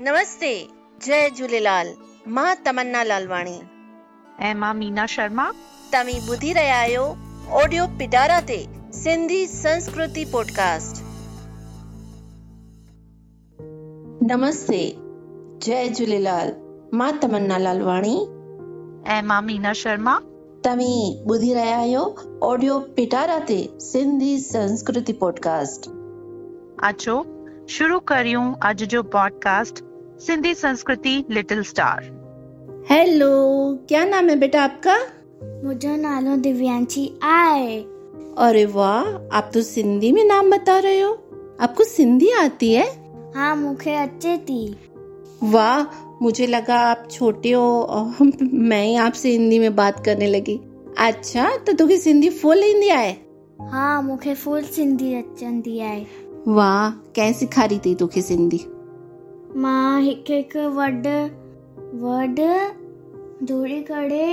नमस्ते जय झूलेलाल मां तमन्ना लालवाणी ऐं मां मीना शर्मा तव्हीं ॿुधी रहिया आहियो ऑडियो पिटारा ते सिंधी संस्कृति पॉडकास्ट नमस्ते जय झूलेलाल मां तमन्ना लालवाणी ऐं मां मीना शर्मा तव्हीं ॿुधी रहिया आहियो ऑडियो पिटारा ते सिंधी संस्कृति पॉडकास्ट अचो शुरू करियूं अॼु जो पॉडकास्ट सिंधी संस्कृति लिटिल स्टार हेलो क्या नाम है बेटा आपका मुझो नालो दिव्यांशी आहे अरे वाह आप तो सिंधी में नाम बता रहे हो आपको सिंधी आती है हा मूंखे अचे थी वाह मुझे लगा आप छोटे हो और मैं ही आपसे हिंदी में बात करने लगी अच्छा तो तोखे सिंधी फुल ईंदी आहे हा मूंखे फुल हाँ, सिंधी अचंदी आहे वाह कंहिं सेखारी अथई तोखे सिंधी मां हिकु हिकु वर्ड वर्ड जोड़ी करे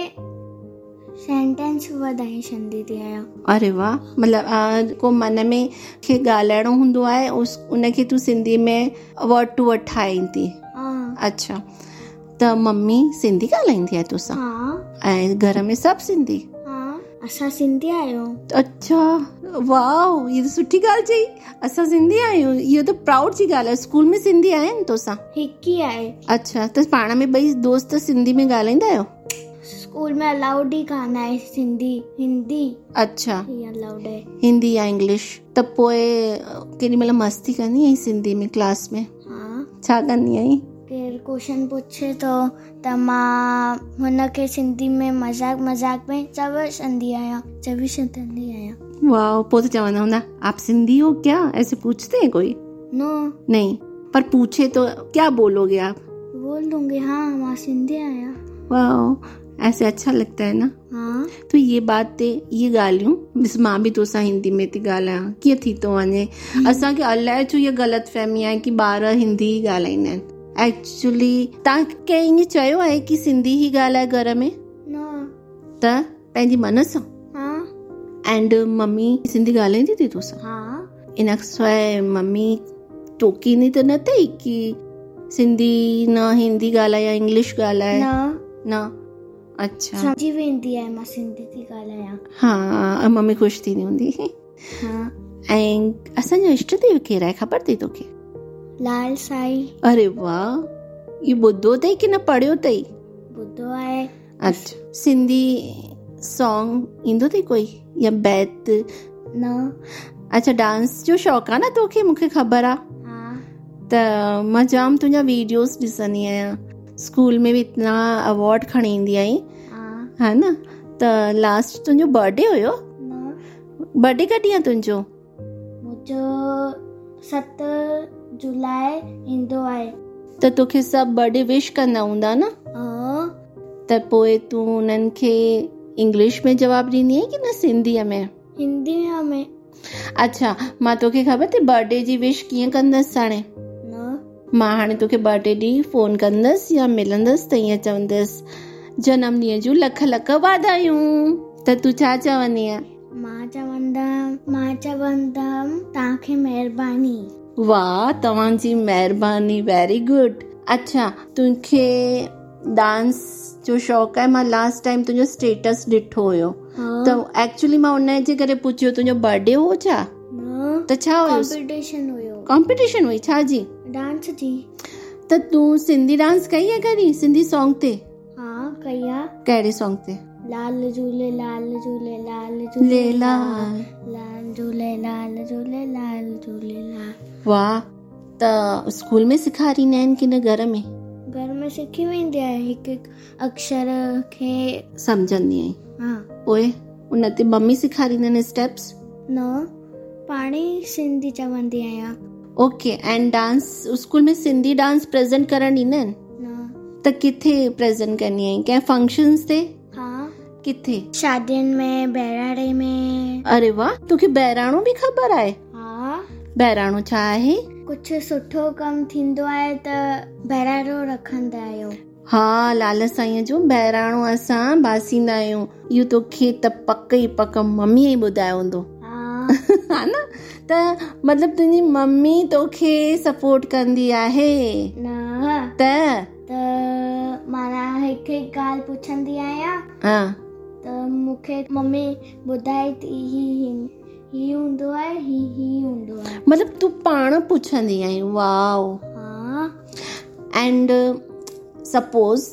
सेंटेंस वधाए छॾींदी थी आहियां अरे वाह मतलब आ, को मन में खे ॻाल्हाइणो हूंदो आहे उस उनखे तूं सिंधी में वर्ड टू वर्ड ठाहींदी हा अच्छा त मम्मी सिंधी ॻाल्हाईंदी आहे तोसां हा ऐं घर में सभु सिंधी हा असां हाँ, सिंधी आहियूं अच्छा वाओ इहा त सुठी ॻाल्हि चई असां सिंधी आहियूं इहो त प्राउड जी ॻाल्हि आहे स्कूल में सिंधी आहिनि तोसां हिकु ई आहे अच्छा त पाण में ॿई दोस्त सिंधी में ॻाल्हाईंदा आहियो स्कूल में अलाउड ई कान आहे सिंधी हिंदी अच्छा ही अलाउड आहे हिंदी या इंग्लिश त पोइ अ, केॾी महिल मस्ती कंदी आई सिंधी में क्लास में हा छा कंदी आई केरु क्वेश्चन तो पुछे थो त मां हुनखे सिंधी में मज़ाक मज़ाक में चवे छॾंदी आहियां चवी छॾंदी आहियां वाओ पोइ त चवंदा हूंदा आप सिंधी हो क्या ऐसे पूछते हैं कोई नो नहीं पर पूछे तो क्या बोलोगे आप बोल दूंगी हाँ मां सिंधी आहियां वाओ ऐसे अच्छा लगता है ना हाँ तो ये बात ते ये ॻाल्हियूं ॾिस मां बि तोसां तो हिंदी में थी ॻाल्हायां कीअं थी तो थो वञे असांखे अलाए छो इहा ग़लति फहमी आहे की ॿार हिंदी ई ॻाल्हाईंदा आहिनि एक्चुअली तव्हां कंहिं ईअं चयो आहे की सिंधी ई ॻाल्हाए घर में नो त पंहिंजी मन सां हाँ एंड uh, मम्मी सिंधी ॻाल्हाईंदी थी तोसां हाँ इन खां सवाइ मम्मी टोकींदी त न अथई की सिंधी न हिंदी ॻाल्हाए या इंग्लिश ॻाल्हाए न न अच्छा सम्झी वेंदी आहे मां सिंधी थी ॻाल्हायां हा हाँ, मम्मी ख़ुशि थींदी हूंदी हाँ ऐं असांजो इष्टदेव केरु आहे ख़बर अथई तोखे लाल साई अरे वाह इहो ॿुधो अथई की न पढ़ियो अथई ॿुधो आहे अच्छा सिंधी सॉन्ग ईंदो अथई कोई या बैत न अच्छा डांस जो शौक़ु आहे न तोखे मूंखे ख़बर आहे हाँ त मां जाम तुंहिंजा वीडियोस ॾिसंदी आहियां स्कूल में बि इतना अवॉर्ड खणी ईंदी आहीं हाँ हा न त लास्ट तुंहिंजो बर्थडे हुयो न बर्थडे कॾहिं आहे तुंहिंजो मुंहिंजो सत जुलाई ईंदो आहे त तोखे सभु बर्थडे विश कंदा हूंदा न ऐं त पोइ तूं उन्हनि खे इंग्लिश में जवाबु ॾींदी आहीं की न सिंधीअ में हिंदी में अच्छा मां तोखे ख़बर अथई बर्थडे जी विश कीअं कंदसि हाणे न मां हाणे तोखे बर्थडे ॾींहुं फ़ोन कंदसि या मिलंदसि त ईअं चवंदसि जनम ॾींहं जूं लख लख वाधायूं त तूं छा चवंदी आहीं मां चवंदमि मां चवंदमि तव्हांखे महिरबानी वाह तव्हांजी महिरबानी वेरी गुड अच्छा तोखे डांस जो शौक़ु आहे मां लास्ट टाइम तुंहिंजो स्टेटस ॾिठो हुयो हा, त एक्चुअली मां उन जे करे पुछियो तुंहिंजो बर्थडे हो छा न त छा हुयो कॉम्पिटिशन हाँ, हुयो कॉम्पिटिशन हुई छा जी डांस जी त तूं सिंधी डांस कई आहे कॾहिं सिंधी सॉन्ग ते हा कई आहे कहिड़े सॉन्ग ते हाँ, लाल झूले लाल झूले लाल झूले लेला लाल झूले लाल झूले लाल झूले लाल वाह त स्कूल में सेखारींदा आहिनि की न घर में घर में सिखी वेंदी आहे हिकु हिकु अक्षर खे हाँ, सम्झंदी आई हा पोइ उन ते मम्मी सेखारींदा आहिनि स्टेप्स न पाण ई सिंधी चवंदी आहियां ओके एंड डांस स्कूल में सिंधी डांस प्रेज़ेंट करणु ॾींदा आहिनि न त तो किथे प्रेज़ेंट कंदी आई कंहिं फंक्शंस ते हा किथे शादियुनि में बहिराणे में अरे वाह तोखे बहिराणो बि ख़बर आहे हा बहिराणो छा आहे कुझु सुठो कमु थींदो आहे त बहिराणो रखंदा आहियूं हा लाल साईंअ जो बहिराणो असां बासींदा आहियूं इहो तोखे त पक ई पक मम्मीअ ई ॿुधायो हूंदो हा हा न त मतिलबु तुंहिंजी मम्मी तोखे सपोर्ट कंदी आहे न त त त माना हिकु हिकु ॻाल्हि पुछंदी आहियां हा त मूंखे मम्मी ॿुधाए थी ही ही- ही हूंदो आहे ही ही हूंदो आहे मतिलबु तूं पाण पुछंदी आई वाओ हा एंड सपोज़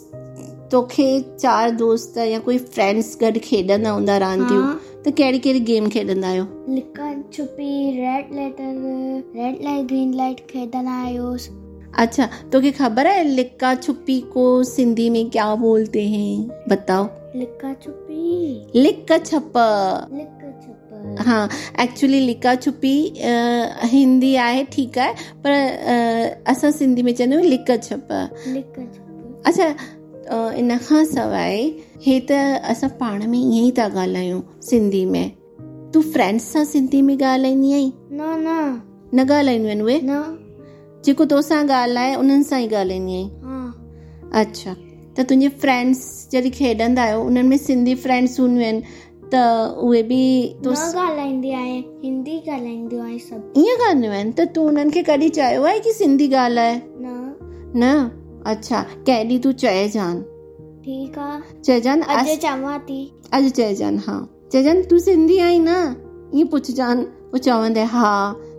तोखे चार दोस्त या कोई फ्रेंड्स गॾु खेॾंदा हूंदा रांदियूं हा। त कहिड़ी कहिड़ी गेम खेॾंदा आहियो लिकन छुपी red letter red light green light खेॾंदा आहियोसि अच्छा तोखे खबर है लिक्का छुपी को सिंधी में क्या बोलते हैं बताओ लिका छुपी लिक्का छप लिक छुप हाँ एक्चुअली लिक्का छुपी अ, हिंदी आहे ठीकु आहे पर अ, असां सिंधी में चवंदा आहियूं लिक्का छप लिक छुप अच्छा अ, इन खां सवाइ हे त असां पाण में ईअं ई था ॻाल्हायूं सिंधी में तूं फ्रेंड्स सां सिंधी में ॻाल्हाईंदी आहीं न न न ॻाल्हाईंदियूं आहिनि उहे न जेको तोसां ॻाल्हाए उन्हनि सां ई ॻाल्हाईंदी आहीं हा अच्छा त तुंहिंजे फ्रेंड्स जॾहिं खेॾंदा आहियो उन्हनि में सिंधी फ्रेंड्स हूंदियूं आहिनि त उहे बि तो न ॻाल्हाईंदी आहियां हिंदी ॻाल्हाईंदियूं आहियां सभु ईअं कंदियूं आहिनि त तूं उन्हनि खे कॾहिं चयो आहे की सिंधी ॻाल्हाए न न अच्छा कंहिं ॾींहुं तूं चइजान ठीकु आहे चइजान अॼु अस- चवां थी अॼु चइजान हा चइजान तूं सिंधी आई न ईअं पुछजान पोइ चवंदे हा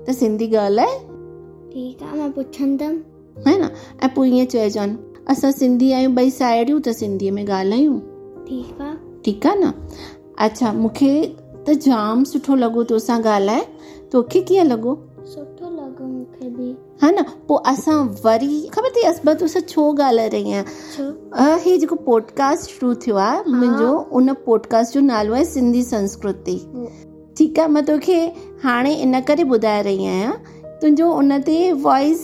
त सिंधी ॻाल्हाए ठीकु आहे मां पुछंदमि है न ऐं पोइ ईअं चइजान असां सिंधी आहियूं ॿई साहेड़ियूं त सिंधीअ में ॻाल्हायूं ठीकु आहे ठीकु आहे न अच्छा मूंखे त जाम सुठो तो लॻो तोसां ॻाल्हाए तोखे कीअं लॻो सुठो लॻो मूंखे बि हा न पोइ असां वरी ख़बर अथई असबा तोसां छो ॻाल्हाए रही आहियां छो अ, हे जेको पॉडकास्ट शुरू थियो आहे मुंहिंजो उन पॉडकास्ट जो नालो आहे सिंधी संस्कृति ठीकु आहे मां तोखे हाणे इन करे ॿुधाए रही आहियां तुंहिंजो उन ते वॉइस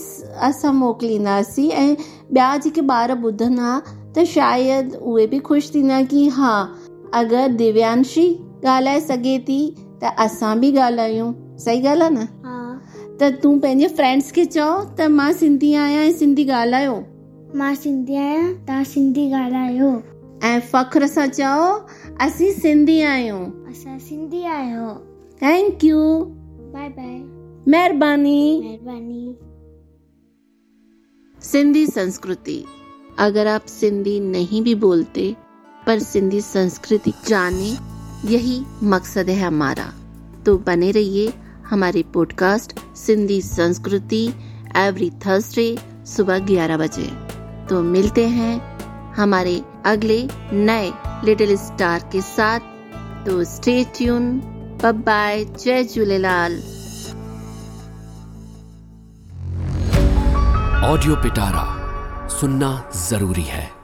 असां मोकिलींदासीं ऐं ॿिया जेके ॿार ॿुधंदा त शायदि उहे बि ख़ुशि थींदा की हा अगरि दिव्यांशी ॻाल्हाए सघे थी त असां बि ॻाल्हायूं सही ॻाल्हि आहे न हा त तूं पंहिंजे फ्रेंड्स खे चओ त मां सिंधी आहियां ऐं सिंधी ॻाल्हायो मां सिंधी आहियां तव्हां सिंधी ॻाल्हायो ऐं फ़ख्र सां चओ असीं सिंधी आहियूं असां सिंधी आहियो थैंक यू बाय बाय महिरबानी महिरबानी सिंधी संस्कृति अगर आप सिंधी नहीं भी बोलते पर सिंधी संस्कृति जाने यही मकसद है हमारा तो बने रहिए हमारे पॉडकास्ट सिंधी संस्कृति एवरी थर्सडे सुबह 11 बजे तो मिलते हैं हमारे अगले नए लिटिल स्टार के साथ तो स्टे ट्यून बाय जय झूलेलाल ऑडियो पिटारा सुनना जरूरी है